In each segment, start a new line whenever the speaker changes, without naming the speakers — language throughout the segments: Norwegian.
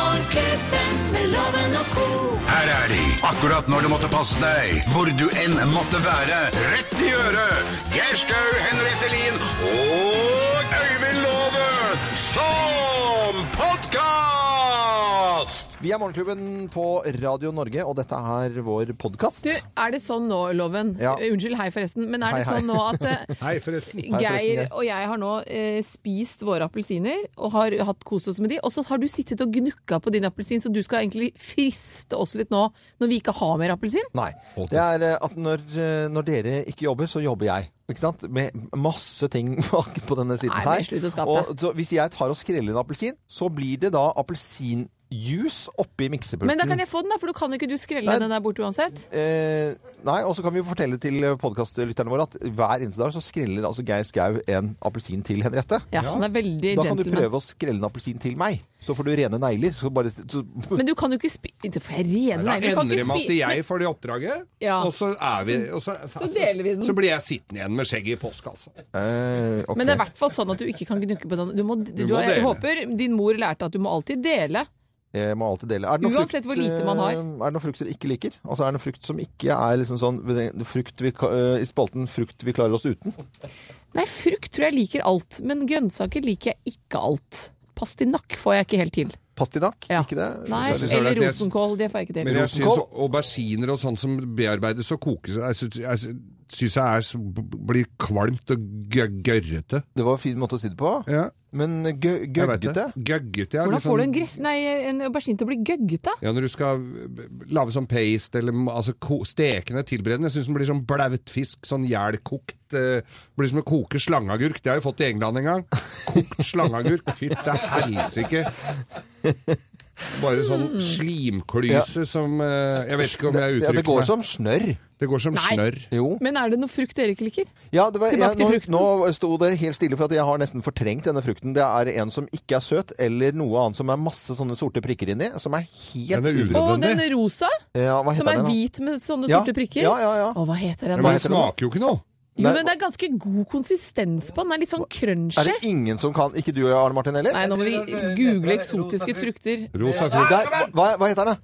Morgenklubben med loven og ko.
Her er de, akkurat når du måtte passe deg, hvor du enn måtte være. Rett i øret! Geir Skau, Henriette Lien og Øyvind Låve som podkast!
Vi er Morgenklubben på Radio Norge, og dette er vår podkast.
Du, er det sånn nå, Loven?
Ja.
Eh, Unnskyld, hei forresten. Men er det
Hei, hei.
sånn nå at eh,
Hei, forresten.
Hei forresten,
Geir
Geir.
og jeg har nå eh, spist våre appelsiner og har hatt kost oss med de, og så har du sittet og gnukka på din appelsin, så du skal egentlig friste oss litt nå når vi ikke har mer appelsin?
Nei. Det er eh, at når, eh, når dere ikke jobber, så jobber jeg. Ikke sant? Med masse ting bak på denne siden
Nei, men slutt å
her.
skape.
Og så hvis jeg tar og skreller en appelsin, så blir det da appelsinjuice oppi miksepulten.
Men da kan jeg få den, da, for du kan jo ikke du skrelle
Nei.
den der borte uansett.
Eh, nei, og så kan vi fortelle til podkastlytterne våre at hver eneste dag så skreller altså Geir Skau en appelsin til Henriette.
Ja, han er veldig
Da kan du
gentleman.
prøve å skrelle en appelsin til meg, så får du rene negler. Så bare, så,
Men du kan jo ikke spi... Det får jeg rene
Da
negler. Du kan
ender det
ikke
med at
spi... Men-
jeg får det oppdraget,
Ja.
og så er vi og så,
Så deler vi den.
Så blir jeg sittende igjen med skjegget i altså. postkassa.
Eh, ok.
Men det er i hvert fall sånn at du ikke kan gnukke på den. Du må, du,
må
jeg
dele.
håper din mor lærte at du må alltid dele.
Jeg Eh, må alltid dele. Er det noe
Uansett hvor lite man har.
eh, Er det noen frukt dere ikke liker? Altså, er det noen frukt som ikke er liksom sånn det- frukt vi, ka- eh, i spalten 'frukt vi klarer oss uten'?
Nei, frukt tror jeg liker alt, men grønnsaker liker jeg ikke alt. Pastinakk får jeg ikke helt til.
Pastinakk?
Ja.
Ikke det?
Nei,
Særlig-
er det-
Eller rosenkål, det får jeg ikke
Men
til.
jeg syns
Rosenkål?
auberginer og sånn som bearbeides og kokes Jeg syns jeg, syns jeg er, så- blir kvalmt og gø- gørrete.
Det var en fin måte å si det på.
Ja,
Men gø
jeg vet
gøggete?
det. Gøggete. ja,
Hvordan
litt
får du
sånn-
en, gress, nei, en aubergine til å bli gøggete?
Ja, Når du skal b- b- lage sånn paste eller m- altså, ko- stekende tilberedende. Jeg syns den blir sånn blaut fisk, sånn jælkokt. Eh, blir som å koke slangeagurk. Det har jeg fått i England en gang. Kokt slangeagurk. Fytte helsike. Bare sånn slimklyse som eh, Jeg vet ikke om jeg
Ja,
uttrykker
det går sånn.
meg.
som snørr.
det går som
Nei.
snørr.
Jo.
Men er det noe frukt dere ikke liker?
Ja, det var, jeg,
Tilbake til
nå,
frukten.
nå sto det helt stille, for at jeg har nesten fortrengt denne frukten. Det er en som ikke er søt, eller noe annet som er masse sånne sorte prikker inni. Som er helt
Den er
ute.
ure-
Og
Nødvendig.
den rosa,
Ja, hva heter
som er
den? da?
hvit med sånne
Ja,
sorte prikker.
Ja, ja, ja.
Å, hva heter den? da?
Men det smaker jo ikke noe.
Jo, men det er ganske god konsistens på den. Den er litt sånn
Er
crunchy.
det ingen som kan Ikke du og jeg, Arne Martin, heller?
Nei, nå må vi google eksotiske frukter.
Rosa
Det
frukt.
er- hva, hva heter den, da?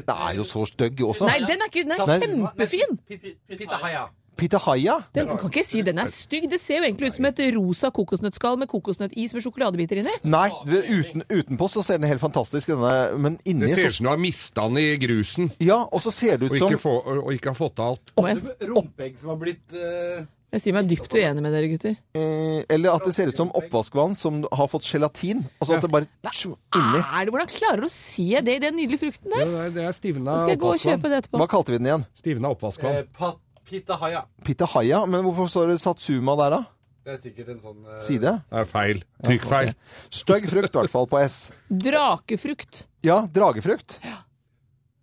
Det er jo så stygg også.
Nei, den er, ikke, den
Nei.
er kjempefin!
Pitahaya?
Den, du kan ikke si den er stygg. Det ser jo egentlig ut som et rosa kokosnøttskall med kokosnøttis med sjokoladebiter inni.
Nei, du, uten, utenpå så ser den helt fantastisk denne, men inni
Det ser ut
så,
som du har mista den i grusen
Ja, og så ser det ut
og
som
ikke, få, og ikke har fått av alt.
Må jeg,
Rumpeegg som har blitt eh,
jeg sier meg dypt uenig med dere, gutter.
eh, Eller at det ser ut som oppvaskvann som har fått gelatin. Altså at det bare tjo, inni.
Ah, Er det, hvordan klarer du å se det i den nydelige frukten der?
Det er- det er stivna
Skal jeg gå og
oppvaskvann.
kjøpe det etterpå?
Hva kalte vi den igjen?
Stivna oppvaskvann.
eh, pat, Pitahaya.
Pitahaya? Men hvorfor står det Satsuma der, da?
Det er sikkert en sånn eh,
Side?
Det er feil. Trykkfeil.
Stygg frukt, i hvert fall, på S.
Drakefrukt.
Ja, dragefrukt.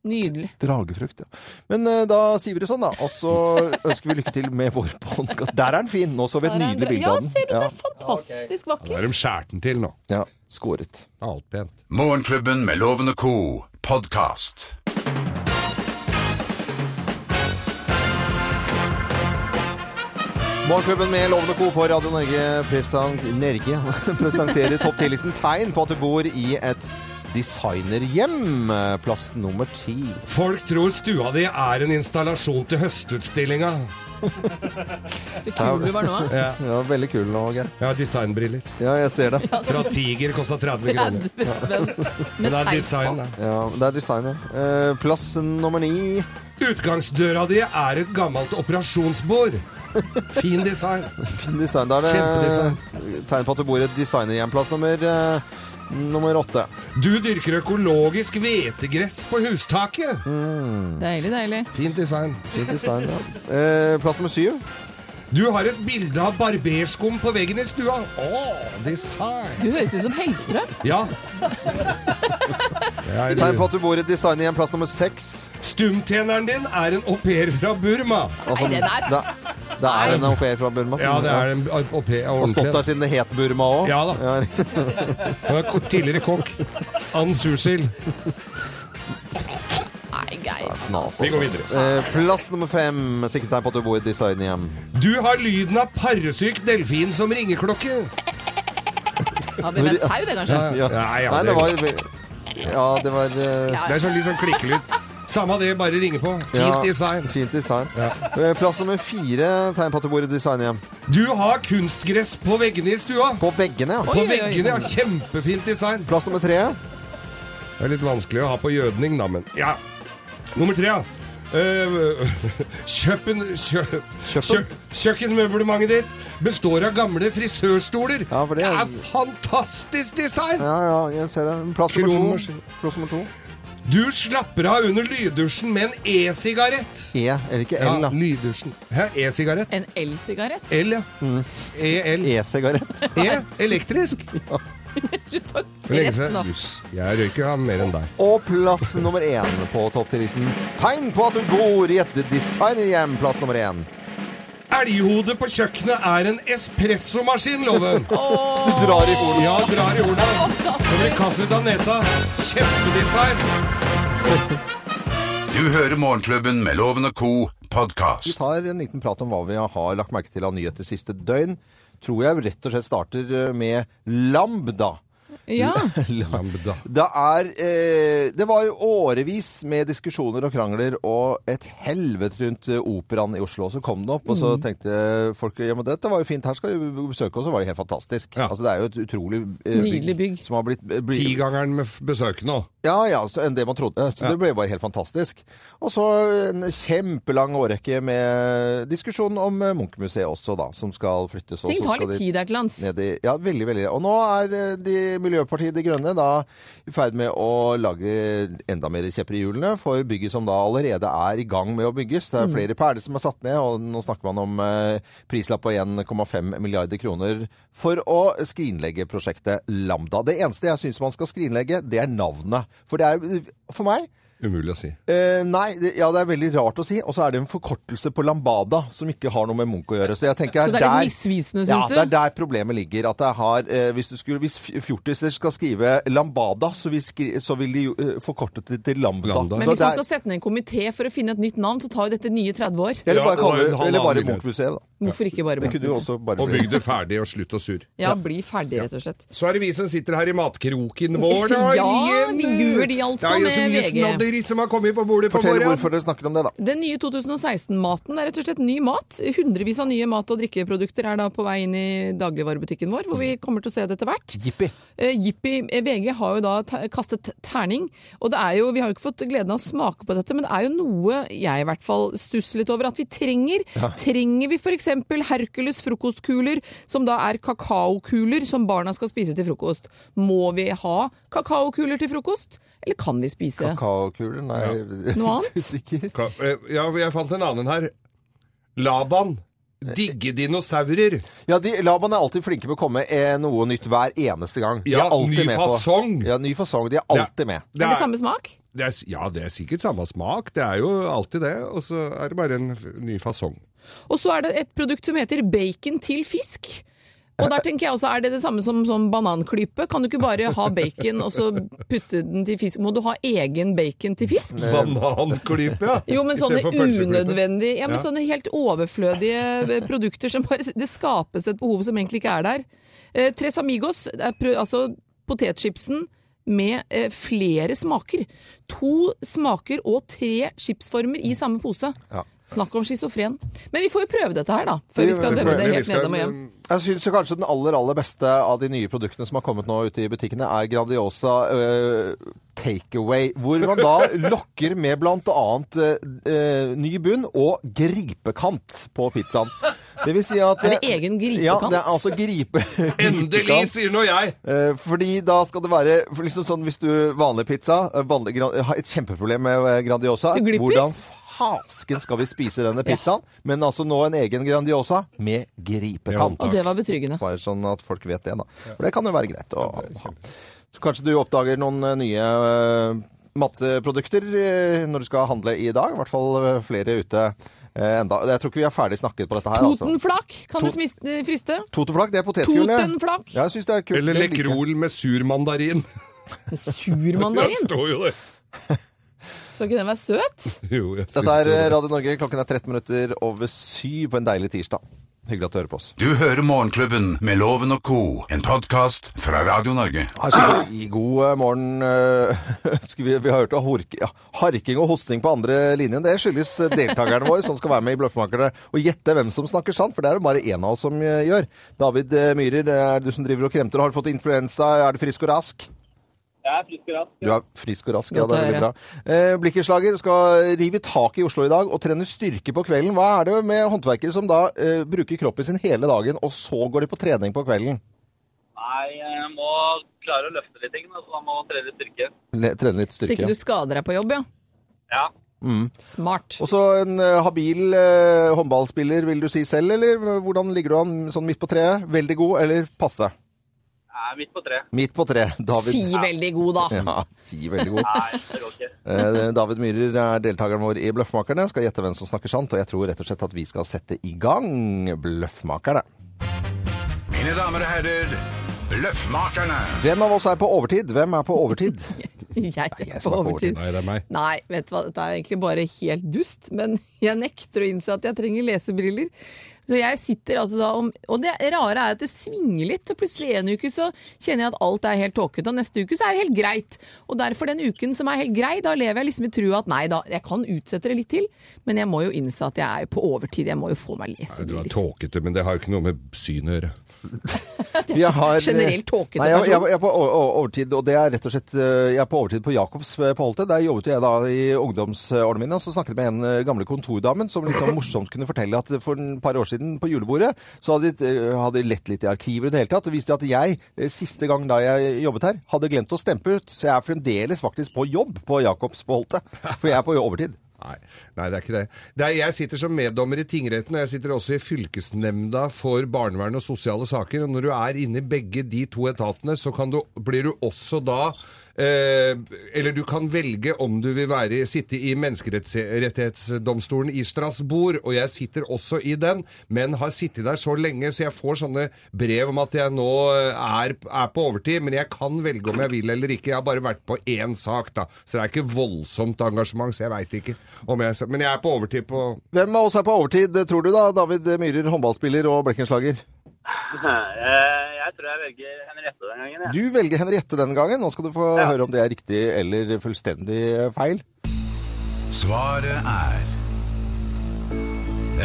Nydelig.
Dragefrukt, ja. Men eh, da sier vi det sånn, da. Og så ønsker vi lykke til med vår podkast. Der er den fin! Nå så vi et nydelig bilde
Ja,
av den.
ser du, det
Ja,
er fantastisk
Da
vakker.
er de skjært den til nå.
ja, skåret.
Alt pent.
Morgenklubben med Loven og Co. podkast.
Morgenklubben med Loven og Co. på Radio Norge present Nerge presenterer topp 10-listen tegn på at du bor i et designerhjem. Plass nummer ti.
Folk tror stua di er en installasjon til høstutstillinga.
Så kul du var nå.
Ja,
Ja, veldig kul nå, Geir.
jeg har designbriller.
Ja, jeg ser det.
Fra Tiger kosta 30 kroner.
Bestevenn. Med
Det er
teip
design,
på.
da.
Ja, det er design, ja. Eh, Plass nummer ni.
Utgangsdøra di er et gammelt operasjonsbord. Fin design.
Fin design. Da er det
Kjempedesign.
tegn på at du bor i et designerhjem. Plass nummer eh, Nummer åtte.
Du dyrker økologisk hvetegress på hustaket.
Deilig, deilig.
Fin design.
Fin design, ja. Eh, plass nummer syv.
Du har et bilde av barberskum på veggen i stua. Å, design.
Du høres ut som Hellstrøm.
Ja.
Tegn på at du bor i et designerhjem. Plass nummer seks.
Stumtjeneren din er en au pair fra Burma.
Altså,
Nei, det der-
det, det er en au pair fra Burma.
Ja, det er en au pair.
Har stått
ordentlig.
der siden det het Burma òg.
Ja da. Han er ko- tidligere kokk. Ann Sushil.
Nei, Geir.
Fnas,
Vi går
altså. Eh, Plass nummer fem. Sikkert tegn på at du bor i et designerhjem.
Du har lyden av parresyk delfin som ringeklokke.
Har vi med sau, det, kanskje?
Nei, ja,
Nei, det
det,
var jo- Ja, det var eh,
Det er sånn litt sånn klikkelyd. Samme det, bare ringe på. Fint
ja,
design.
Fint design. Eh, Plass nummer fire tegn på at du bor i designhjem.
Du har kunstgress på veggene i stua.
På veggene, ja.
På
Oi, oi, oi.
veggene, ja. Kjempefint design.
Plass nummer tre.
Det er litt vanskelig å ha på jødning, da, men ja. Nummer tre, ja. Eh, kjøp en- kjø, kjø, kjøkkenmøblementet ditt består av gamle frisørstoler.
Ja, for det er-
er fantastisk design!
Ja, ja, jeg ser det. Plass nummer to.
Kronmaskin.
Plass nummer to.
Du slapper av under lyddusjen med en e-sigarett.
E, eller ikke
Ja,
L, da.
lyddusjen. Hæ, e-sigarett?
En elsigarett?
L, ja.
Mm. E.
E-L.
E-sigarett.
E, elektrisk.
Du tar
For lenge
rett nå.
siden. Jøss, Jeg røyker ja, mer enn deg.
Og plass nummer én på topptillisten. Tegn på at du bor i et designerhjem. Plass nummer én.
Elghode på kjøkkenet er en espressomaskin, loven.
Du drar i bordet.
Ja, drar i hornet. Det blir kaffe ut av nesa. Kjempedesign.
Du hører Morgenklubben med Loven og Co.
Vi
podkast.
tar en liten prat om hva vi har lagt merke til av nyheter siste døgn. Tror jeg rett og slett starter eh, med Lambda.
Ja.
Lambda.
Det er eh, Det var jo årevis med diskusjoner og krangler og et helvete rundt eh, operaen i Oslo. Så kom den opp, og så
Mm.
tenkte folk ja, men dette var jo fint, her skal vi besøke oss. Og så var det helt fantastisk.
Ja.
Altså, det er jo et utrolig eh,
Nydelig bygg.
som har blitt, eh, blitt
Tigangeren med f- besøk nå.
Ja, ja, så enn det man trodde. Så Det ble bare helt fantastisk. Og så en kjempelang årrekke med diskusjon om eh, Munch-museet også, da, som skal flyttes. og
Ting
så
tar
skal
litt
de
tid der til lands.
ned i- Ja, veldig, veldig. Og nå er eh, de Miljøpartiet De Grønne da i ferd med å lage enda mer kjepper i hjulene for bygget som da allerede er i gang med å bygges.
Mm.
Det er flere perler som er satt ned, og nå snakker man om eh, prislapp på 1,5 milliarder kroner for å skrinlegge prosjektet Lambda. Det eneste jeg syns man skal skrinlegge, det er navnet. For det er for meg
Umulig å si.
Eh, nei, det, ja, det er veldig rart å si. Og så er det en forkortelse på Lambada som ikke har noe med Munch å gjøre. Så, jeg tenker,
Så det er litt misvisende,
ja,
synes du?
det er der problemet ligger. At det har, eh, hvis, du skulle, hvis f- fjortiser skal skrive Lambada, så vil, skri, så vil de jo eh, forkortet det til Lambda.
Lambda.
Så
Men hvis
det
man
er-
skal sette ned en komité for å finne et nytt navn, så tar jo dette nye 30 år.
eller bare
Ja,
kalle
og en
det eller bare
halvannen milliard.
Munch-museet, da.
Hvorfor ikke bare
Det kunne jo
Munch-museet?
også bare
Og bygg det ferdig og slutt å sur.
Ja, bli ferdig, rett og slett.
Så er det vi som sitter her i matkroken vår, da.
Ja, vi gjør de altså
det er jo
med
så mye
VG.
snadderi som har kommet på bordet på
Fortell
morgenen.
hvorfor dere snakker om det, da.
Den nye 2016-maten er rett og slett ny mat. Hundrevis av nye mat- og drikkeprodukter er da på vei inn i dagligvarebutikken vår, hvor vi kommer til å se det etter hvert.
Jippi.
Eh, Jippi eh, VG har jo da te- kastet terning, og det er jo, vi har jo ikke fått gleden av å smake på dette, men det er jo noe jeg i hvert fall stusser litt over at vi trenger. Trenger vi f.eks. Hercules frokostkuler, som da er kakaokuler som barna skal spise til frokost? Må vi ha kakaokuler til frokost, eller kan vi spise
Kakaokuler? Nei,
Noe annet?
Usikker.
Ka- eh, Ja, jeg fant en annen her. Laban. Digge dinosaurer.
Ja, de, Laban er alltid flinke med å komme eh, noe nytt hver eneste gang. De
Ja,
er alltid
ny
med på-
fasong.
Ja, ny fasong. De er alltid med.
Er det samme smak?
det er, ja, det er sikkert samme smak. Det er jo alltid det. Og så er det bare en f- ny fasong.
Og så er det et produkt som heter bacon til fisk. Og der tenker jeg også, Er det det samme som, som bananklype? Kan du ikke bare ha bacon og så putte den til fisk? Må du ha egen bacon til fisk?
Bananklype, ja.
Jo, men sånne
Istedenfor pølseklype.
unødvendige ja, men
Ja.
sånne helt overflødige eh, produkter som bare Det skapes et behov som egentlig ikke er der. Eh, Tres Amigos, det er prø altså potetchipsen med eh, flere smaker. To smaker og tre chipsformer i samme pose.
Ja.
Snakk om schizofren. Men vi får jo prøve dette her, da. Før vi skal dømme
Selvfølgelig,
det
vi
helt
skal-
nedom og hjem.
Jeg syns jo kanskje den aller aller beste av de nye produktene som har kommet nå ute i butikkene, er Grandiosa øh, Takeaway. Hvor man da lokker med bl.a. Uh, ny bunn og gripekant på pizzaen. Det vil si at
Er det egen
Ja,
gripekant?
det er altså gripe,
Endelig,
gripekant.
sier nå jeg!
Eh, fordi da skal det være for liksom sånn hvis du vanlig pizza eh, vanlig, gran- har et kjempeproblem med eh, Grandiosa.
Du glipper.
Hvordan fasken skal vi spise denne pizzaen? Men altså nå en egen Grandiosa med gripekant.
Og det var betryggende.
Bare sånn at folk vet det, da. For det kan jo være greit å ha. Så kanskje du oppdager noen eh, nye eh, matteprodukter eh, når du skal handle i dag. I hvert fall eh, flere ute eh, enda. Jeg tror ikke vi er ferdig snakket på dette her, altså.
Totenflak kan det smis- eh, friste.
Toteflak, det er potetgullet.
Totenflak.
Ja, jeg synes det er kult.
Eller
Det liker jeg.
Lekrol med sur mandarin.
Sur
Det
mandarin.
står jo det.
Skal ikke den være søt?
Jo, jeg
Dette
synes
er eh,
jo det.
Radio Norge. Klokken er 13 minutter over syv på en deilig tirsdag. Hyggelig at du hører på oss.
Du hører Morgenklubben med Loven og co., en podkast fra Radio Norge.
Her sitter vi i god eh, morgen. eh, Ønsker vi, vi har hørt av hork- ja, harking og hosting på andre linjen. Det skyldes eh, deltakerne våre som skal være med i Bløffmakerne og gjette hvem som snakker sant, for det er det bare én av oss som eh, gjør. David eh, Myhrer, det er du som driver og kremter. Har du fått influensa? Er du frisk og rask?
Jeg er frisk og rask.
Du er frisk og rask, ja.
Godt
Det
å
er veldig bra. Eh, Blikkenslager skal rive tak i Oslo i dag og trene styrke på kvelden. Hva er det med håndverkere som da eh, bruker kroppen sin hele dagen, og så går de på trening på kvelden?
Nei, jeg må klare å løfte litt ting, da, så da må man trene litt styrke.
Le- Trene litt
Så
styrke.
ikke du skader deg på jobb, ja.
Ja.
Smart.
Og så en eh, habil eh, håndballspiller, vil du si selv, eller hvordan ligger du an sånn midt på treet? Veldig god, eller passe?
Jeg er midt på tre.
Midt på treet, David.
Si veldig god, da.
Ja, si veldig god.
Nei, det går ikke.
Eh, David Myhrer er deltakeren vår i Bløffmakerne. Skal gjette hvem som snakker sant, og jeg tror rett og slett at vi skal sette i gang Bløffmakerne.
Mine damer og herrer, Bløffmakerne.
Hvem av oss er på overtid? Hvem er på overtid?
Jeg
jeg
er
som
på
er på
overtid.
Nei, det er meg.
Nei, vet du hva, dette er egentlig bare helt dust, men jeg nekter å innse at jeg trenger lesebriller. Så jeg sitter altså da om Og det rare er at det svinger litt. og Plutselig en uke så kjenner jeg at alt er helt tåkete, og neste uke så er det helt greit. Og derfor den uken som er helt grei, da lever jeg liksom i trua at nei da, jeg kan utsette det litt til, men jeg må jo innse at jeg er på overtid. Jeg må jo få meg
Nei, du er
lesebriller.
tåkete, men det har jo ikke noe med synet å gjøre.
Vi har- eh,
generelt tåkete altså.
Nei, jeg, jeg,
person.
jeg er på o- o- overtid, og det er rett og slett eh, Jeg er på overtid på Jacobs eh, på Holte. Der jobbet jeg da i ungdomsårene mine. Og så snakket jeg med en eh, gamle kontordamen som litt sånn morsomt kunne fortelle at for en par år siden på julebordet så hadde de eh, hadde de lett litt i arkiver i det hele tatt. Og viste at jeg, eh, siste gang da jeg jobbet her, hadde glemt å stempe ut. Så jeg er fremdeles faktisk på jobb på Jacobs på Holte. For jeg er på overtid.
Nei, nei, det er ikke det. det er, jeg sitter som meddommer i tingretten, og jeg sitter også i fylkesnemnda for barnevern og sosiale saker. Og når du er inne i begge de to etatene, så kan du, blir du også da eh, Eller du kan velge om du vil være, sitte i menneskerettighetsdomstolen i Strasbourg, og jeg sitter også i den, men har sittet der så lenge, så jeg får sånne brev om at jeg nå eh, er, er på overtid, men jeg kan velge om jeg vil eller ikke. Jeg har bare vært på én sak, da, så det er ikke voldsomt engasjement, så jeg veit ikke om jeg Men jeg er på overtid på
Hvem av oss er på overtid, tror du da? David Myhrer, håndballspiller og blekkenslager.
Eh, Jeg tror jeg velger Henriette den gangen, jeg.
Du velger Henriette denne gangen. Nå skal du få høre om det er riktig eller fullstendig feil.
Svaret er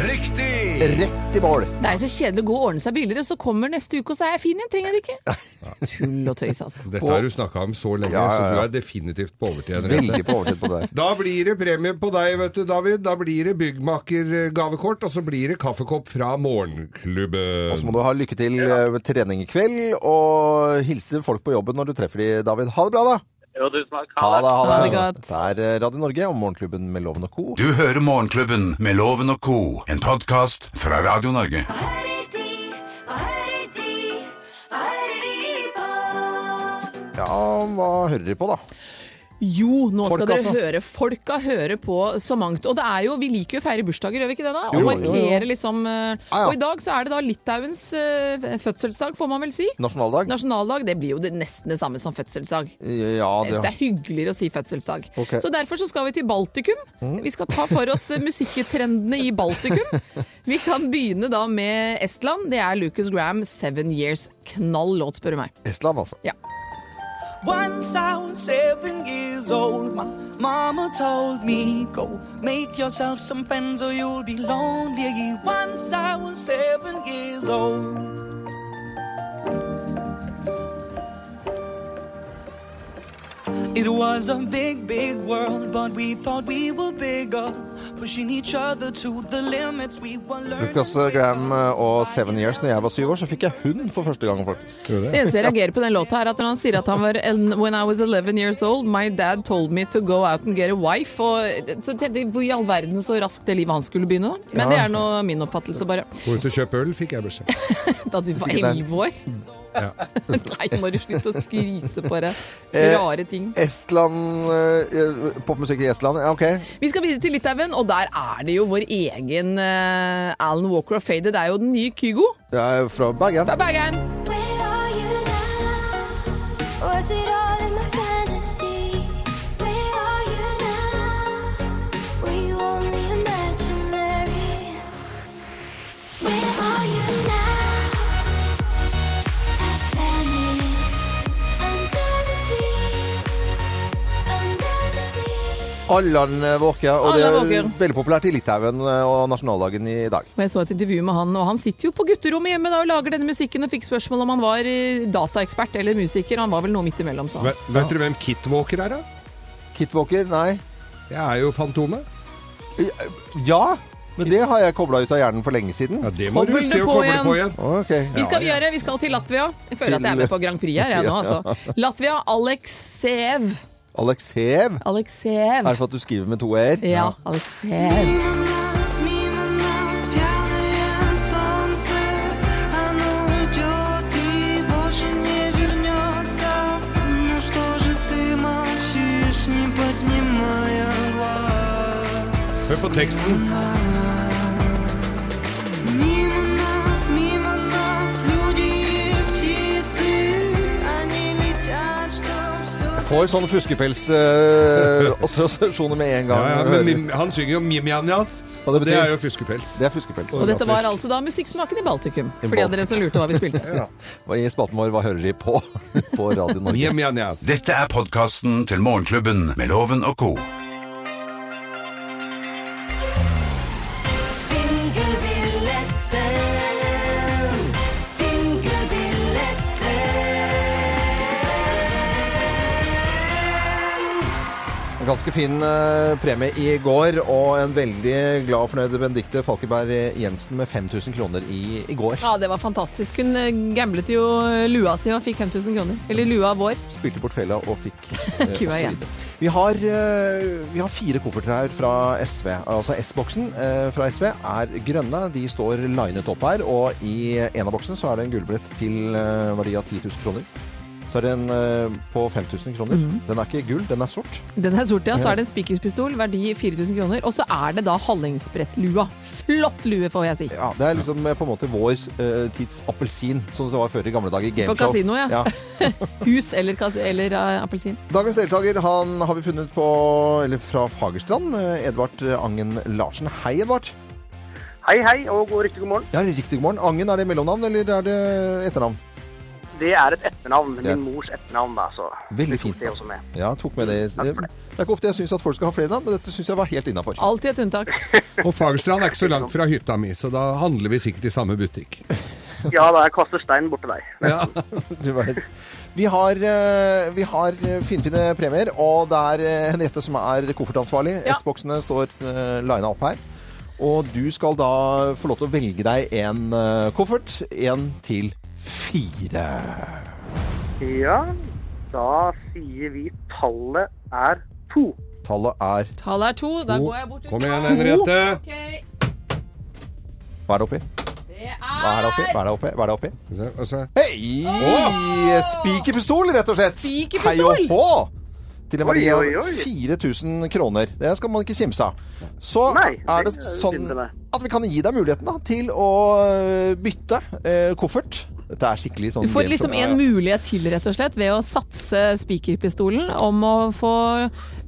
Riktig!
Rett i mål.
Det er jo så kjedelig å gå og ordne seg billigere, så kommer neste uke og så er jeg fin igjen. Trenger jeg det ikke. Tull og tøys, altså.
Dette har du snakka om så lenge,
Ja, ja, ja.
så du er definitivt på overtid. Henriette.
Veldig på overtid på det der.
Da blir det premie på deg, vet du, David. Da blir det byggmakergavekort, og så blir det kaffekopp fra
Og så
morgenklubben.
må du ha lykke til eh, med trening i kveld, og hilse folk på jobben når du treffer de, David. Ha det bra, da!
Jo, tusen takk.
Ha det, ha
Ha
det.
det godt.
Dette er eh, Radio Norge og Morgenklubben med Loven og co.
Du hører Morgenklubben med Loven og co., en podkast fra Radio Norge.
Hva hører de? Hva hører de? Hva hører de på?
Ja, hva hører dere på, da?
Jo, nå
Folk,
skal dere
altså.
høre. Folka hører på så mangt. Og det er jo, vi liker jo å feire bursdager, gjør vi ikke det da?
Jo,
Og
jo, jo.
markere liksom eh,
Ja, ja.
Og i dag så er det da Litauens eh, fødselsdag, får man vel si.
Nasjonaldag?
Nasjonaldag. Det blir jo det, nesten det samme som fødselsdag.
Ja,
Jeg synes det
det
er hyggeligere å si fødselsdag.
Ok. Mm.
Så derfor så skal vi til Baltikum. Vi skal ta for oss eh, musikketrendene i Baltikum. Vi kan begynne da med Estland. Det er Lucas Graham, 'Seven Years'. Knall låt, spør du meg.
Estland, altså.
Once I was seven years old, my mama told me, Go make yourself some friends or you'll be lonely. Once I was seven years old. It was a big, big world, but we thought we were bigger, pushing each other to the limits we were learning.
Lucas eh, Graham eh, og Seven Years. Når jeg var syv år, så fikk jeg hund for første gang, faktisk.
Det eneste jeg reagerer på den låta, er at når han sier at han var en- When I was 11 years old, my dad told me to go out and get a wife. Og så tenkte jeg, Hvor i all verden så raskt det livet han skulle begynne, da. Men det er nå min oppfattelse, bare.
Gå ut og kjøp øl, fikk jeg beskjed.
Da du var
Fikk jeg det?
11 år.
Ja.
Nei, nå må du slutte å skryte på deg.
Eh,
Rare ting.
Estland eh, Popmusikk i Estland, ja, OK.
Vi skal videre til Litauen, og der er det jo vår egen eh, Alan Walker of Faded. Det er jo den nye Kygo.
Jeg er fra Bergen.
Bye, Bergen!
Where are you now? Was it all in my fantasy? Where are you now? Were you only imaginary? Where are you
Allan Våke. Og det
Allan
er
Våker.
veldig populært i Litauen eh, og nasjonaldagen i dag.
Og jeg så et intervju med han, og han sitter jo på gutterommet hjemme da og lager denne musikken og fikk spørsmål om han var eh, dataekspert eller musiker. Han var vel noe midt imellom, sa han.
Vet, vet dere hvem Kit Walker er, da?
Kit Våker? Nei.
Det er jo Fantomet.
Ja, men det har jeg kobla ut av hjernen for lenge siden.
Ja, det må
Kobler
du
det
se og
på
koble
igjen.
på igjen.
Ok.
Vi skal gjøre, vi skal til Latvia. Jeg føler at jeg er med på Grand Prix her, jeg nå, altså. Latvia, Aleksev.
Alex Hev.
Aleksev.
Er det for at du skriver med to r?
Ja, Aleksev.
Hør på teksten.
Får sånn fuskepelsassosiasjoner med en gang.
Ja,
når
ja,
du
men,
hører.
mim- han synger jo Mimjanjas,
Og det
og det
betyr-
er jo fuskepels.
det er fuskepels.
Og dette var altså da musikksmaken i Baltikum, for de av dere som lurte hva vi spilte.
Og I spalten vår Hva hører de på? på Radio Norge.
Mimjanjas.
Dette er podkasten til Morgenklubben med Loven og co.
En ganske fin eh, premie i går, og en veldig glad og fornøyd Benedicte Falkeberg Jensen med 5000 kroner i, i går.
Ja, det var fantastisk. Hun eh, gamblet jo eh, lua si og fikk 5000 kroner. Eller lua vår.
Spilte bort fella og fikk eh, og
Kua
så
igjen.
videre. Vi har, eh, vi har fire kofferter her fra SV. Altså S-boksen eh, fra SV er grønne. De står linet opp her. Og i en av boksene så er det en gullbillett til eh, verdi av 10 000 kroner. Så er det en eh, på 5000 kroner.
Mhm.
Den er ikke gull, den er sort.
Den er sort, ja. Så er det en spikerpistol, verdi 4000 kroner. Og så er det da hallingsbrettlua. Flott lue, får jeg si.
Ja, Det er liksom eh, på en måte vår eh, tids appelsin, sånn som det var før i gamle dager. i
På
Gameshow.
kasino, ja. Hus eller, kas- eller eh, appelsin.
Dagens deltaker han har vi funnet på, eller fra Fagerstrand. eh, Edvard Angen Larsen. Hei, Edvard.
Hei, hei, og god riktig god morgen.
Ja, riktig god morgen. Angen, er det mellomnavn eller er det etternavn?
Det er et etternavn.
Ja.
Min mors etternavn, da. Så
Veldig fint.
det er også med.
Ja, jeg tok med det. Det
Takk for det.
er ikke ofte jeg syns at folk skal ha flere navn, men dette syns jeg var helt innafor.
Alltid et unntak.
Og Fagerstrand er ikke så langt fra hytta mi, så da handler vi sikkert i samme butikk.
Ja da, jeg kaster stein bort til deg.
Ja.
Vi har, eh, vi har eh, finfine premier, og det er eh, Henriette som er koffertansvarlig.
Ja.
S-boksene står eh, lina opp her. Og du skal da få lov til å velge deg en eh, koffert. Én til fire.
Ja, da sier vi tallet er to.
Tallet er
Tallet er to. Da går jeg bort til
Kom igjen,
to.
Henriette.
Ok,
Hva er det oppi?
det er
Hva er det oppi? Hva er det oppi? Hva er det oppi?
Og så- og så-
Hei! Spikerpistol, rett og slett.
Spikerpistol.
Hei og hå! Til en
Oi,
verdi
oi,
av
oi.
4000 kroner. Det skal man ikke kimse av. Så
Nei,
er det
det er
sånn
synd det der.
at vi kan gi deg muligheten da, til å øh, bytte øh, koffert. Dette er skikkelig sånn
Du får
gameshow.
liksom
Ja,
en
ja.
mulighet til, rett og slett, ved å satse spikerpistolen om å få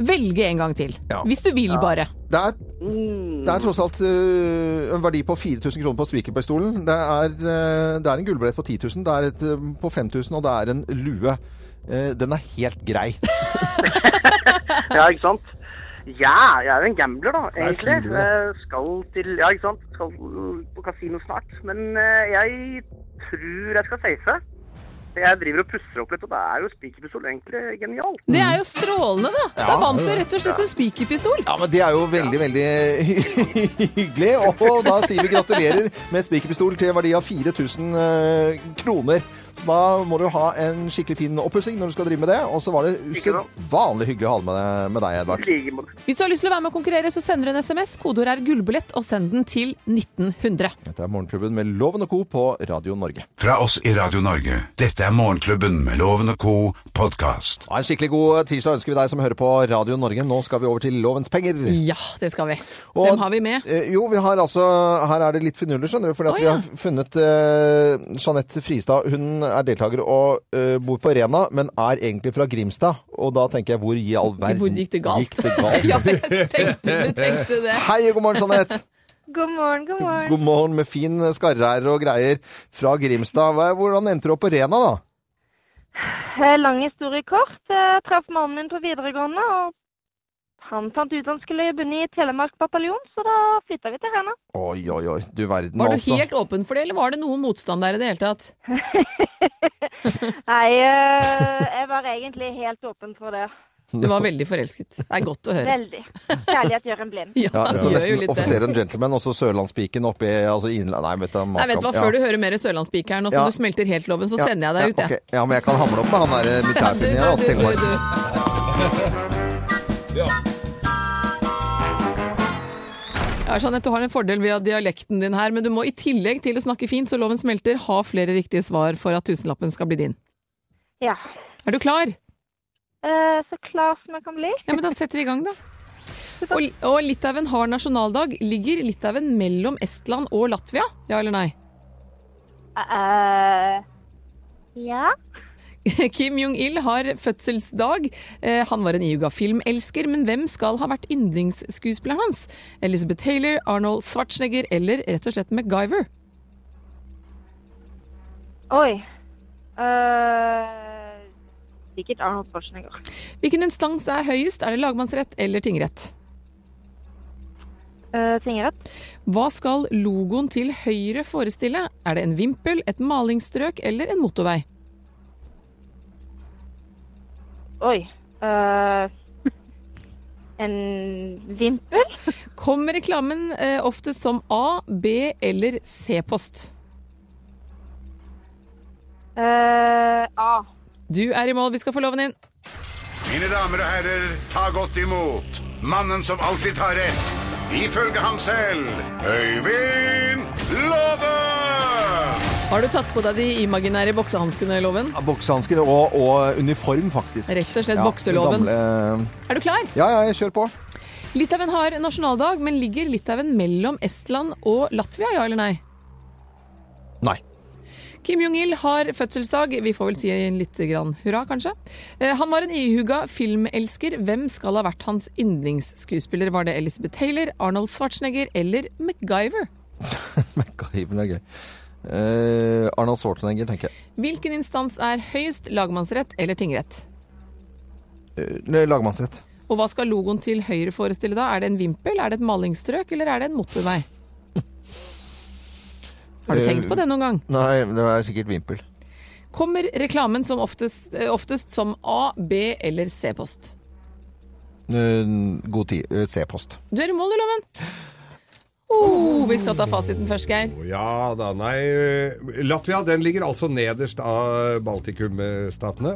velge en gang til.
Ja.
Hvis du vil, bare.
Det er,
Mm.
det er tross alt øh, en verdi på 4000 kroner på spikerpistolen. Det, er, øh, det er en gullbillett på 10 000, det er et øh, på 5000, og det er en lue. Eh, den er helt grei.
Ja, ikke sant? Ja, jeg er jo en gambler, da, egentlig.
fin du, da.
Eh, Skal til Ja, ikke sant. Skal mm, på kasino snart. Men eh, jeg tror jeg skal safe. Jeg driver og pusser opp litt, og det er jo spikerpistol egentlig genialt.
Det er jo strålende, da! Da
Mm. Ja.
vant du rett og slett en spikerpistol.
Ja, men Det er jo veldig, veldig hyggelig. Og da sier vi gratulerer med spikerpistol til en verdi av 4000 eh, kroner. Så da må du ha en skikkelig fin oppussing når du skal drive med det. Og så var det usedvanlig hyggelig å ha det med, med deg,
I
Edvard.
like måte.
Hvis du har lyst til å være med og konkurrere, så sender du en SMS. Kodeord er 'gullbillett', og send den til 1900.
Dette er Morgenklubben med Loven og Co. på Radio Norge.
Fra oss i Radio Norge. Dette er Morgenklubben med Loven og co. podkast.
Ha en skikkelig god tirsdag ønsker vi deg som hører på Radio Norge. Nå skal vi over til Lovens penger.
Ja, det skal vi.
Og-
Hvem har vi med?
Eh, Jo, vi har altså Her er det litt finurlig, skjønner du. Fordi at
Å,
vi
ja.
har funnet eh, Jeanette Fristad. Hun er deltaker og eh, bor på Rena, men er egentlig fra Grimstad. Og da tenker jeg, hvor i all verden
Hvor gikk det galt?
Gikk det galt?
Ja, jeg tenkte du tenkte det.
Hei og god morgen, Jeanette.
God morgen, god morgen.
God morgen med fin skarrær og greier fra Grimstad. Hva- Hvordan endte du opp på Rena, da?
Eh, Lang historie kort. Jeg traff mannen min på videregående og Han fant ut han skulle begynne i Telemark bataljon, så da flytta vi til Rena.
Oi, oi, oi. Du verden,
Var du
altså.
helt åpen for det, eller var det noen motstand der i det hele tatt?
Nei, eh, jeg var egentlig helt åpen for det.
Du var veldig forelsket. Det er godt å høre.
Veldig. Kjærlighet gjør en blind.
Ja,
Ja, jeg tror
det gjør jo
nesten
litt det.
offiser en gentleman, og så Sørlandspiken oppi altså innland... Nei, vet du,
Nei, vet du hva,
maken.
Før du
Ja.
hører mer Sørlandspikeren, og så
Ja.
du smelter helt loven, så
Ja,
sender jeg deg ut,
ja,
jeg.
ok. Ja, men jeg kan hamle opp med han der militærfyren igjen. altså,
du, du,
Telemark.
du, du. Ja, Jeanette, du har en fordel via dialekten din her, men du må i tillegg til å snakke fint så loven smelter, ha flere riktige svar for at tusenlappen skal bli din.
Ja.
Er du klar?
Eh, så klar som jeg kan bli.
Ja, men da setter vi i gang, da. Og, og Litauen har nasjonaldag. Ligger Litauen mellom Estland og Latvia? Ja eller nei?
Eh, ja.
Kim Jong-il har fødselsdag. Eh, Han var en iuga-filmelsker, men hvem skal ha vært yndlingsskuespilleren hans? Elizabeth Taylor, Arnold Schwarzenegger eller rett og slett MacGyver?
Oi. Eh, sikkert Arnold Schwarzenegger.
Hvilken instans er høyest? Er det lagmannsrett eller tingrett?
Eh, Tingrett.
Hva skal logoen til høyre forestille? Er det en vimpel, et malingsstrøk eller en motorvei?
Oi. Eh, en vimpel.
Kommer reklamen eh, oftest som A, B eller C-post?
Eh, ah.
Du er i mål, vi skal få loven inn.
Mine damer og herrer, ta godt imot mannen som alltid tar rett. Ifølge ham selv Øyvind Låve!
Har du tatt på deg de imaginære boksehanskene, Loven?
Ja, Boksehansker og, og uniform, faktisk.
Rett og slett
den
bokseloven.
gamle-
Er du klar?
Ja, ja, jeg kjør på.
Litauen har nasjonaldag, men ligger Litauen mellom Estland og Latvia, ja eller nei?
Nei.
Kim Jong-il har fødselsdag, vi får vel si en lite grann hurra, kanskje. Eh, Han var en ihuga filmelsker. Hvem skal ha vært hans yndlingsskuespiller? Var det Elizabeth Taylor, Arnold Schwarzenegger eller MacGyver?
MacGyver er gøy. Eh, Arnold Schwarzenegger, tenker jeg.
Hvilken instans er høyest, lagmannsrett eller tingrett?
Eh, nei, lagmannsrett.
Og hva skal logoen til høyre forestille da? Er det en vimpel, er det et malingsstrøk eller er det en motorvei? Har du tenkt på det noen gang?
Nei, det er sikkert vimpel.
Kommer reklamen som oftest, eh, oftest som A, B eller C-post?
Eh, god tid. Eh, C-post.
Du er i mål, i Loven. Oh, vi skal ta fasiten først, Geir.
Ja da, nei eh, Latvia den ligger altså nederst av Baltikum-statene.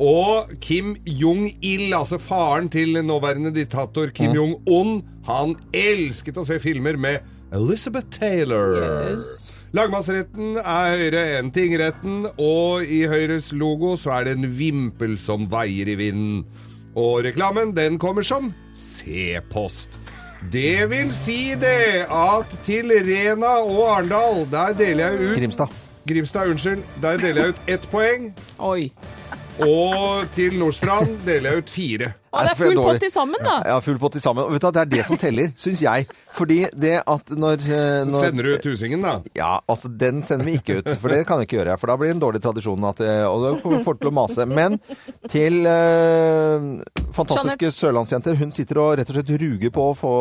Og Kim Jong-il, altså faren til nåværende diktator Kim Jong-un, han elsket å se filmer med Elizabeth Taylor.
Yes.
Lagmannsretten er høyere enn tingretten, og i Høyres logo så er det en vimpel som veier i vinden. Og reklamen, den kommer som C-post. Det vil si det at til Rena og Arendal, der deler jeg ut
Grimstad.
Grimstad, unnskyld. Der deler jeg ut ett poeng.
Oi.
Og til Nordstrand deler jeg ut fire.
Å, det er
for jeg
full
dårlig.
pott til sammen, da.
Ja, full pott til sammen. Og vet du, hva, Det er det som teller, syns jeg. Fordi det at når, eh,
Så
når
sender du ut tusingen, da.
Ja, altså den sender vi ikke ut, for det kan vi ikke gjøre. For da blir det en dårlig tradisjon, at, eh, og da kommer vi fort til å mase. Men til eh, fantastiske sørlandsjenter. Hun sitter og rett og slett ruger på å få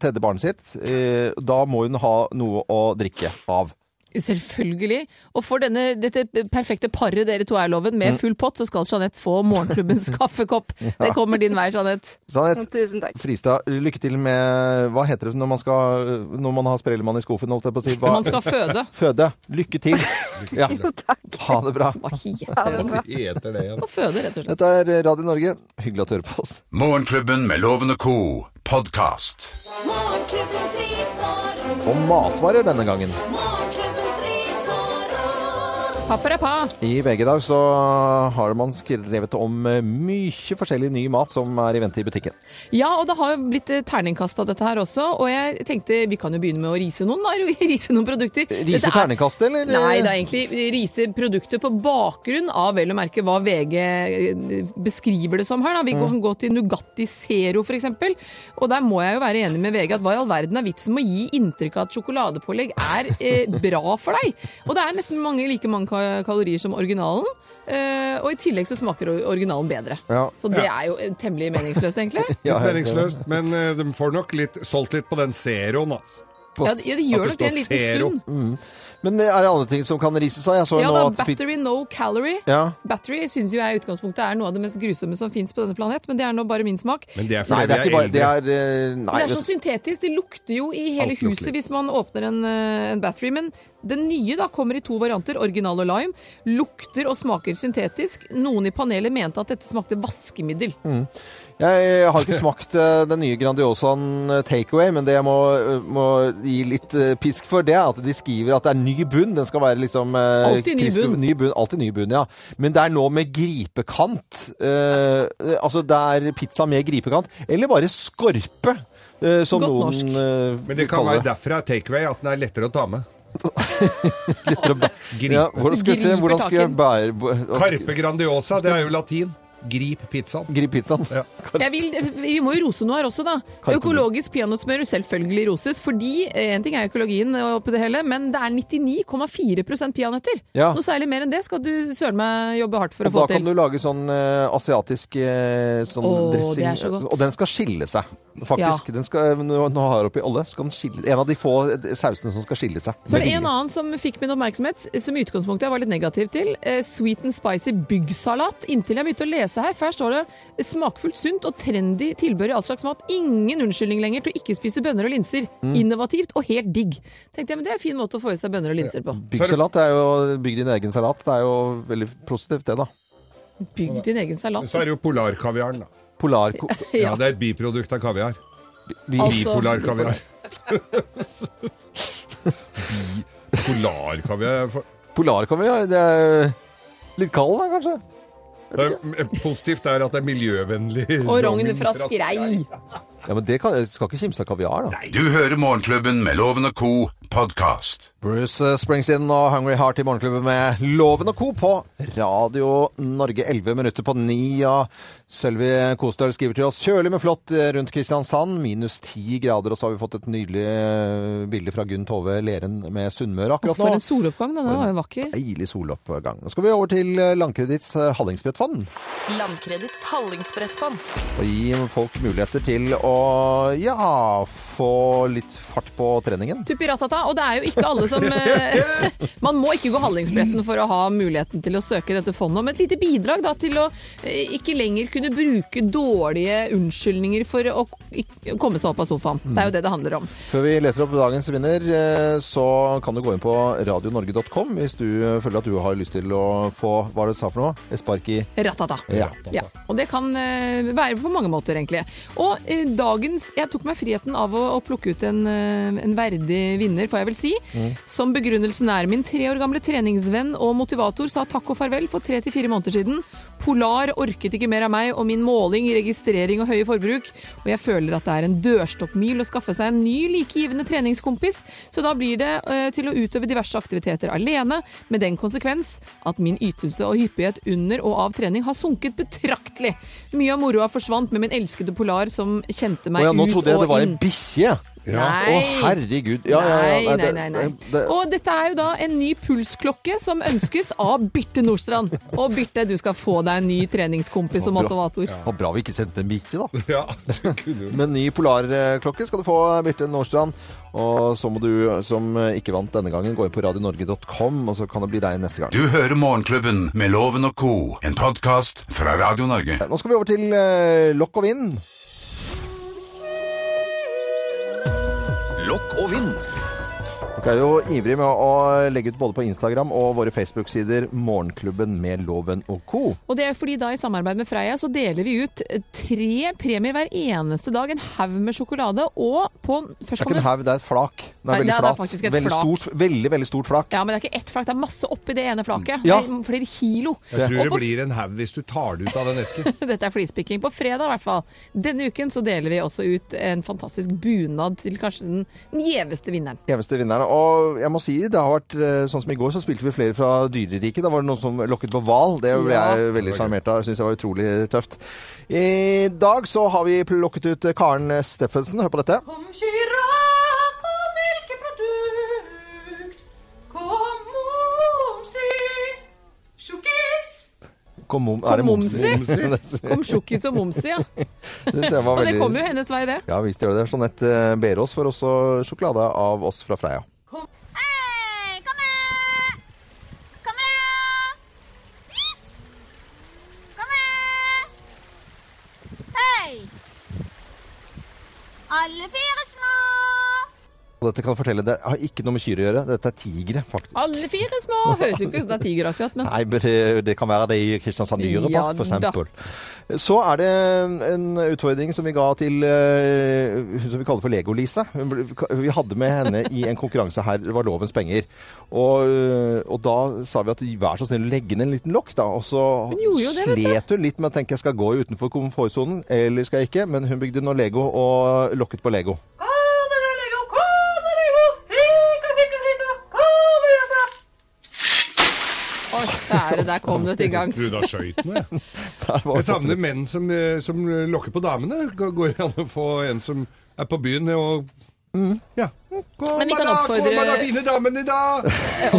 tredje barnet sitt. Eh, da må hun ha noe å drikke av.
Selvfølgelig. Og for denne, dette perfekte paret dere to er, Loven,
Mm.
med full pott, så skal Jeanette få morgenklubbens kaffekopp. Det kommer din vei, Jeanette.
Jeanette
Tusen takk.
Fristad, lykke til med Hva heter det når man, skal, når man har sprellemann i skuffen, holdt jeg på å si? Hva?
Man skal føde.
Føde. Lykke til. Ja. Ha det bra.
Hva heter det?
Heter det igjen.
Å føde, rett og slett.
Dette er Radio Norge. Hyggelig at du hører på oss.
Morgenklubben med Loven og co. podkast.
Morgenklubbens risår,
Og matvarer denne gangen.
morgenklubbens risår og
Paparapa.
I VG i dag så har man skrevet om eh, mye forskjellig ny mat som er i vente i butikken.
Ja, og det har jo blitt eh, terningkast av dette her også, og jeg tenkte vi kan jo begynne med å rise noen, da. Rise noen produkter. Dette
Rise
er-
terningkast, eller?
Nei, det er egentlig rise produkter på bakgrunn av vel å merke hva VG beskriver det som her. Da. Vi kan gå til Nugatti Zero f.eks. Og der må jeg jo være enig med VG at hva i all verden er vitsen med å gi inntrykk av at sjokoladepålegg er eh, bra for deg? Og det er nesten mange, like mange ka- kalorier som originalen, eh, og i tillegg så smaker o- originalen bedre.
Ja.
Så det
Ja.
er jo eh, temmelig meningsløst, egentlig.
Litt meningsløst, men eh, de får nok litt, solgt litt på den zeroen, altså.
Ja, de- ja, de gjør
At
nok det en
står
liten
zero.
stund.
Mm. Men er det andre ting som kan rise seg? Jeg så
Ja
nå
da,
at
battery no calorie.
Ja.
Battery syns jeg i utgangspunktet er noe av det mest grusomme som fins på denne planet, men det er nå bare min smak.
Men det er fordi
Nei, det er
vi
ikke
er
bare Det
eldre.
er eh, Nei,
det er så
vet du.
syntetisk. Det lukter jo i hele
Alt lukter
huset
likt.
hvis man åpner en, eh, en battery. Men den nye da kommer i to varianter, original og lime. Lukter og smaker syntetisk. Noen i panelet mente at dette smakte vaskemiddel.
Mm. Jeg har ikke smakt eh, den nye Grandiosaen eh, takeaway, men det jeg må, eh, må gi litt eh, pisk for, det er at de skriver at det er ny bunn. Den skal være liksom eh,
Alltid ny
crispy-
bunn.
ny bunn. Alltid ny bunn, ja. Men det er nå med gripekant. Eh, eh, altså det er pizza med gripekant, eller bare skorpe, eh, som
Godt
noen
norsk.
eh,
Men det kan
kaller
være derfra er takeaway, at den er lettere å ta med. Gripe.
Ja, hvordan skal vi se, hvordan skal jeg
Gripe
bære
Carpe Grandiosa, det er jo latin. Grip pizzaen.
Grip pizzaen.
Jeg vil, vi må jo rose noe her også, da.
Karpe-
Økologisk peanøttsmør selvfølgelig roses. Fordi én ting er økologien oppi det hele, men det er 99,4 peanøtter.
Ja.
Noe særlig mer enn det skal du søren meg jobbe hardt for å
Og da
få til.
kan du lage sånn eh, asiatisk eh, sånn
Åh, det
dressing.
er så godt.
Og den skal skille seg, faktisk.
Ja.
Den skal, eh, nå nå har jeg oppi alle. Skal den skille, en av de få sausene som skal skille seg.
Så var det en annen som fikk min oppmerksomhet, som i utgangspunktet jeg var litt negativ til. Eh, Sweet and spicy byggsalat. Inntil jeg begynte å lese her. Først står det smakfullt, sunt og trendy tilbør i all slags mat. Ingen unnskyldning lenger til å ikke spise bønner og linser.
Mm.
Innovativt og helt digg. Tenkte jeg, men Det er en fin måte å få i seg bønner og linser på.
Byggsalat er jo Bygg din egen salat. Det er jo veldig positivt, det, da.
Bygg din egen
Men så er
salat.
det jo polarkaviaren, da.
Polarko...
Ja.
Ja, det er et biprodukt av kaviar.
bi-
Altså-
Bipolarkaviar. Polarkaviar for-
Polarkaviar, det er litt kald, da, kanskje?
Det er, positivt er at det er miljøvennlig.
Og rogn fra skrei.
Ja, men det kan, skal ikke kimse av kaviar, da.
Du hører Morgenklubben med Loven og Co. podkast.
Bruce Springsteen og Hungry Heart i Morgenklubben med Loven og Co. på Radio Norge. 11 minutter på ni. Og Sølvi Kostøl skriver til oss kjølig, men flott rundt Kristiansand. Minus ti grader. Og så har vi fått et nydelig eh, bilde fra Gunn Tove Leren med Sunnmøre akkurat
For
nå.
en soloppgang, da. Den var jo vakker.
Deilig soloppgang. Nå skal vi over til eh, Landkreditts eh, Hallingsbrettfond.
Landkredits hallingsbrettfond.
Og gi folk muligheter til å ja, få litt fart på treningen.
Tuppi ratata, og det er jo ikke alle som eh, Man må ikke gå Hallingsbretten for å ha muligheten til å søke dette fondet, men et lite bidrag da til å eh, ikke lenger kunne bruke dårlige unnskyldninger for å k- ikke- komme seg opp av sofaen. Det er jo det det handler om.
Før vi leser opp dagens vinner, eh, så kan du gå inn på radionorge.com hvis du eh, føler at du har lyst til å få hva var det du sa for noe? Et spark i
Ratata.
Ja.
Ja, og det kan eh, være på mange måter, egentlig. Og eh, dagens Jeg tok meg friheten av å, å plukke ut en, eh, en verdig vinner, får jeg vel si.
Mm.
Som begrunnelsen er min tre år gamle treningsvenn og motivator sa takk og farvel for tre til fire måneder siden. Polar orket ikke mer av meg og min måling, registrering og høye forbruk, og jeg føler at det er en dørstokkmil å skaffe seg en ny likegivende treningskompis, så da blir det eh, til å utøve diverse aktiviteter alene, med den konsekvens at min ytelse og hyppighet under og av trening har sunket betraktelig. Mye av moroa forsvant med min elskede Polar som kjente meg
Å ja, nå
ut og
trodde jeg det var en
inn.
bikkje!
Nei.
Å, herregud. Ja, ja, ja,
Nei, nei,
det-
nei. nei.
det- det-
Og dette er jo da en ny pulsklokke som ønskes av Birte Nordstrand. Og Birte, du skal få deg en ny treningskompis og
Bra.
motivator.
Det var bra vi ikke sendte en bikkje, da.
Ja,
Med ny polarklokke skal du få, Birte Nordstrand. Og så må du, som ikke vant denne gangen, gå inn på radionorge.com, og så kan det bli deg neste gang.
Du hører Morgenklubben med Loven og Co. en podkast fra Radio Norge.
Nå skal vi over til eh, lokk og vinn.
Lokk og vinn.
Dere er jo ivrige med å legge ut både på Instagram og våre Facebook-sider Morgenklubben med Loven og co.
Og det er fordi da i samarbeid med Freia så deler vi ut eh, tre premier hver eneste dag. En haug med sjokolade og på
Det er ikke en
førstkommende
haug, det er et flak. Det
Nei,
er veldig
det er
flat.
faktisk et
veldig
flak.
stort, veldig, veldig stort flak.
ja, men det er ikke ett flak, det er masse oppi det ene flaket.
Ja.
Det er flere kilo.
Jeg tror
Og
det
på
blir en haug hvis du tar det ut av den esken.
Dette er flispikking. På fredag i hvert fall. Denne uken så deler vi også ut en fantastisk bunad til kanskje den den gjeveste vinneren.
Eneste vinneren. Og jeg må si, det har vært eh, sånn som i går, så spilte vi flere fra dyreriket. Da var det noen som lokket på hval. Det ble
Ja.
jeg veldig sjarmert av. Jeg syns det var utrolig tøft. I dag så har vi plukket ut Karen Steffensen. Hør på dette.
Kom giraffe og melkeprodukt. Kom momsi.
Kom, mom, er
Kom
det
Momsi!
Momsi?
Kom Tjukkis og Momsi, ja.
Det synes jeg var
Og det
veldig-
kommer jo hennes vei, det.
Ja visst gjør det det. Jeanette eh, Berås får også sjokolade av oss fra Freia.
Hei! Alle fire små!
Og dette kan jeg fortelle, det har ikke noe med kyr å gjøre. Dette er tigre, faktisk.
Alle fire små! Høres jo ikke ut som det er tiger akkurat, men
Nei, men det- det kan være det i Kristiansand
Ja
dyrepark, for
da.
eksempel. Så er det en utfordring som vi ga til eh, hun som vi kaller for Lego-Lise. Hun ble- Vi hadde med henne i en konkurranse her, det var lovens penger. Og, eh, og da sa vi at vær så snill, legg ned en liten lokk, da. Og så
Hun gjorde jo det, vet du.
slet hun litt med å tenke jeg skal gå utenfor komfortsonen, eller skal jeg ikke? Men hun bygde nå Lego og lokket på Lego.
å kjære, der kom det til gangs.
Gud, da skjøt den, jeg.
var
Jeg savner menn som, eh, som lokker på damene. Går- Går det an å få en som er på byen og Ja. Kom,
Men vi kan
da,
oppfordre-
Kom, da, fine damen i dag!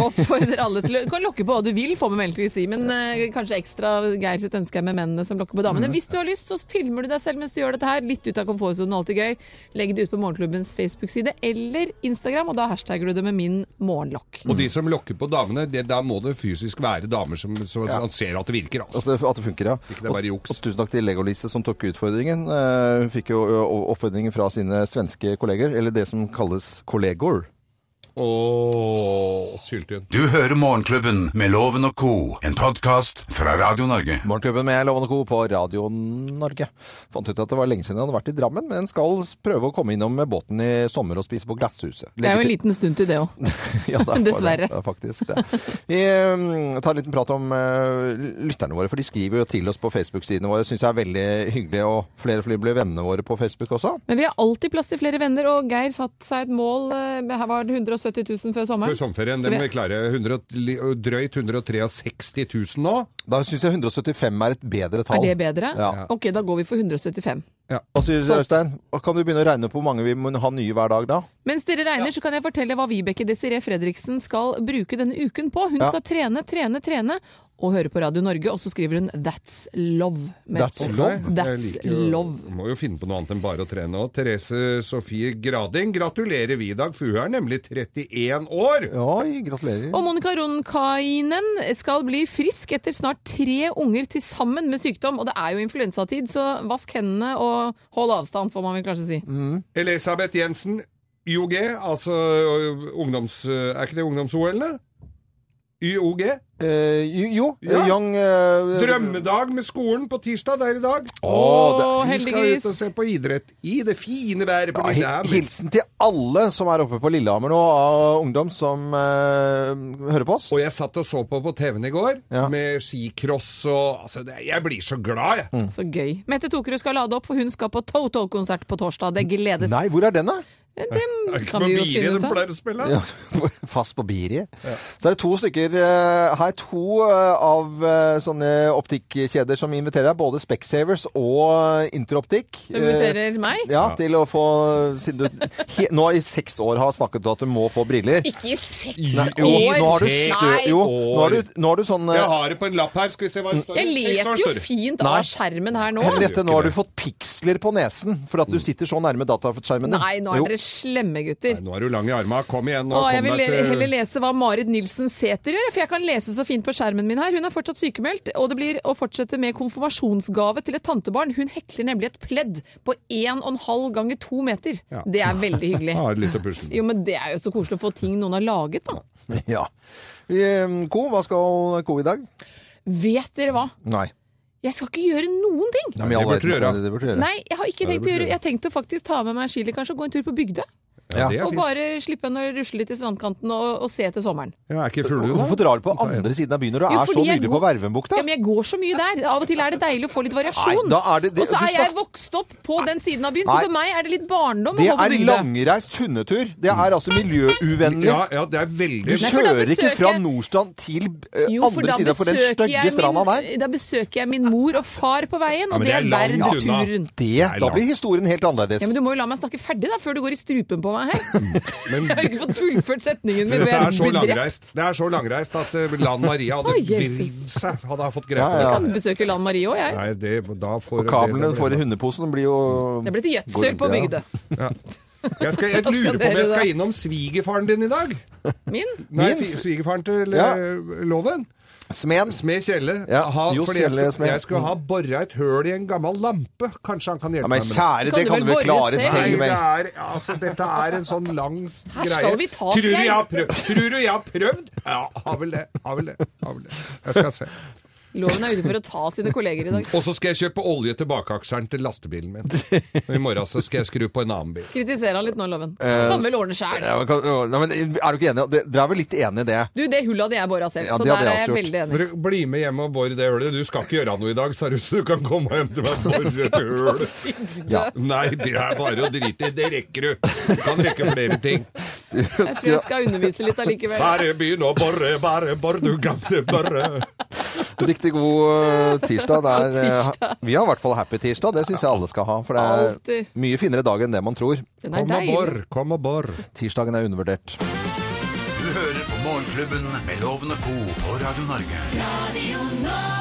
Oppfordrer alle til å Du kan lokke på hva du vil, får vi melkevis i, men eh, kanskje ekstra Geir sitt ønske er med mennene som lokker på damene.
Mm.
Hvis du har lyst, så filmer du deg selv mens du gjør dette her. Litt ut av komfortsonen, alltid gøy. Legg det ut på Morgenklubbens Facebook-side eller Instagram, og da hashtagger du det med 'min morgenlokk'.
Og de som lokker på damene, det, da må det fysisk være damer som, som
Ja.
man ser at det virker.
At
Altså.
det, at det funker, ja.
det er bare
og, og tusen takk til Lego-Lise som tok utfordringen. Eh, Hun fikk jo ø, o- oppfordringen fra sine svenske kolleger, eller det som kalles kollegor.
Ååå, syltynn.
Du hører Morgenklubben med Loven og Co., en podkast fra Radio Norge.
Morgenklubben med Loven og Co. på Radio Norge. Fant ut at det var lenge siden jeg hadde vært i Drammen, men skal prøve å komme innom med båten i sommer og spise på Glasshuset.
Det er jo en
Legge
liten stund til det òg.
til- Ja, det er bare det.
Dessverre.
Det er faktisk det. Vi eh, tar en liten prat om eh, lytterne våre, for de skriver jo til oss på Facebook-sidene våre. Syns jeg er veldig hyggelig, og flere og flere blir vennene våre på Facebook også.
Men vi har alltid plass til flere venner, og Geir satte seg et mål eh, Her var det 170 000 før sommeren.
Før sommerferien.
Så
Den
vi-
vil klare 100, li- drøyt 163 000 nå.
Da syns jeg 175 er et bedre
Er
tall.
det bedre?
Ja.
Ok, da går vi for 175.
Hva sier du, Øystein? Og Kan du begynne å regne på hvor mange vi må ha nye hver dag, da?
Mens dere regner, så kan jeg fortelle hva Vibeke Desiree Fredriksen skal bruke denne uken på. Hun
Ja.
skal trene, trene, trene og høre på Radio Norge, og så skriver hun 'That's love'. med
That's
et ord.
love. Jeg
That's
liker jo-
love.
Må jo finne på noe annet enn bare å trene òg. Therese Sofie Grading, gratulerer vi i dag, for hun er nemlig 31 år!
Oi, gratulerer.
Og Monica Ronkainen skal bli frisk etter snart tre unger til sammen med sykdom. Og det er jo influensatid, så vask hendene og hold avstand, får man vel kanskje si.
Mm. Elisabeth Jensen, IOG, altså ø, ungdoms... øh, Er ikke det ungdoms-OL-ene? YOG?
Eh, jo,
Ja.
Young eh,
Drømmedag med skolen på tirsdag, det er i dag.
Å, det-
Vi skal
heldiggris.
ut og se på idrett i det fine været på
Ja,
Lillehammer.
hilsen til alle som er oppe på Lillehammer nå, av ungdom som eh, hører på oss.
Og jeg satt og så på på TV-en i går, med skicross og altså, det, Jeg blir så glad, jeg.
Mm.
Så gøy. Mette Tokerud skal lade opp, for hun skal på Toto-konsert på torsdag. Det gledes.
Nei, hvor er den, da?
Det kan vi jo finne ut av.
Ja, fast på Biri. Så er det to stykker eh, her. To eh, av eh, sånne optikkjeder som inviterer deg. Både Specsavers og eh, Interoptikk. Eh,
Som inviterer meg?
Eh,
Ja, til å få Siden du he, nå i seks år har snakket om at du må få briller.
Ikke i seks
Nei,
år!
jo, nå har du, stø,
Nei.
jo, nå har du, nå har du sånn eh,
Jeg har det på en lapp her. Skal vi se hva det står.
Jeg
Seks år
leser jo
står det.
fint
Nei.
av skjermen her nå.
Henriette, nå har du Mm. fått piksler på nesen for at du sitter så nærme dataskjermen din.
Nei, nå er dere slemme gutter.
Nå er du lang i arma. Kom igjen. Nå,
Å, jeg
kom
vil
deg til-
heller lese hva Marit Nilsen Sæther gjør, for jeg kan lese så fint på skjermen min her. Hun er fortsatt sykemeldt, og det blir å fortsette med konfirmasjonsgave til et tantebarn. Hun hekler nemlig et pledd på 1,5 ganger 2 meter.
Ja.
Det er veldig hyggelig.
Jeg har litt å pusle med.
Jo, men det er jo så koselig å få ting noen har laget, da.
Jo. Ja. Eh, Ko, hva skal Ko i dag?
Vet dere hva?
Nei.
Jeg skal ikke gjøre noen ting!
Nei, men i all
det burde du
verden,
gjøre.
det- det burde du gjøre.
Nei, jeg har ikke
Ja, det
tenkt å
burde
gjøre
du
Jeg har tenkt å faktisk ta med meg chili kanskje og gå en tur på bygda.
Ja, det er
og
fint.
bare slippe henne å rusle litt i strandkanten og, og se etter sommeren.
Ja, er ikke full du, da?
Hvorfor drar du på andre siden av byen når du er
Jo,
så
fordi jeg
nydelig
går-
på Vervenbukta?
Ja, men jeg går så mye der. Av og til er det deilig å få litt variasjon.
Nei, da er det- det-
og så
du
er jeg
snakker-
vokst opp på den siden av byen,
Nei.
så for meg er det litt barndom å
Det
gå på
er
bygda.
langreist hundetur. Det er altså miljøuvennlig.
Ja, ja, det er veldig
Du
Nei, for da
kjører ikke
besøker-
fra Nordstrand til eh,
Jo, for
andre
da
sida på den
besøker jeg
stygge stranda
min-
der.
Da besøker jeg min mor og far på veien, og det er verdt turen.
Det, da blir historien helt
Ja,
annerledes.
men du må jo la meg snakke ferdig da, før du går i strupen på meg her.
Men
Jeg har ikke fått fullført setningen min.
Men dette
men
er så
jeg blir drept.
langreist Det er så langreist at eh, Lan Maria hadde
Å, hjelpes.
vridd seg. Hadde jeg fått greie
Ja,
på
ja.
Jeg kan besøke Lan Marie òg, jeg.
Nei, det, da får
Og kablene
det-
du får i hundeposen blir jo
Det blir til
går-
gjødsel på
ja.
bygda.
Ja. Jeg, skal, jeg lurer på om jeg skal innom svigerfaren din i dag.
Min?
Nei,
Min?
fi- svigerfaren til
Ja.
eh, Loven.
Smed.
Smed Kjelle.
Ja,
Ha-
Johs
fordi jeg
Kjelle
skulle-
Smed. Mm.
Jeg skulle ha bora et høl i en gammel lampe. Kanskje han kan hjelpe
Ja, men
meg med
kjære, det kan du vel klare
Nei,
selv,
det
vel.
er, altså, dette er en sånn lang s-
Her
greie.
skal vi ta
tror du
Skein.
jeg har prøvd? Tror du jeg har prøvd? Ja, har vel det. Har vel det. Har vel det. Jeg skal se.
Loven er ute for å ta sine kolleger i dag.
Og så skal jeg kjøpe olje til bakaksjeren til lastebilen min. Og I morgen så skal jeg skru på en annen bil.
Kritiserer han litt nå, Loven.
Eh,
Kan vel ordne sjæl.
Ja, men kan- Nei, men er du ikke enig? Det- Dere er vel litt enig i det?
Du, det hullet hadde jeg bora selv,
Ja,
så
det hadde
der er
jeg
jeg
også
veldig enig.
Bare Bli med hjem og bor det hølet. Du skal ikke gjøre noe i dag, seriøst. Du kan komme hjem til meg og bore et høl.
Ja.
Nei, det er bare å drite i. Det rekker du. Du kan rekke flere ting.
Jeg tror jeg skal undervise litt allikevel.
Bare begynn å bore, bare bor, du gamle børre.
Riktig god eh, tirsdag. Det er, eh,
Tirsdag.
vi har i hvert fall happy tirsdag. Det syns jeg alle skal ha. For det er
Alltid.
mye finere dag enn det man tror.
Den er Kom og deilig. bor,
kom og bor.
Tirsdagen er undervurdert.
Du hører på Morgenklubben med Lovende Co. på Radio Norge.
Radio Norge.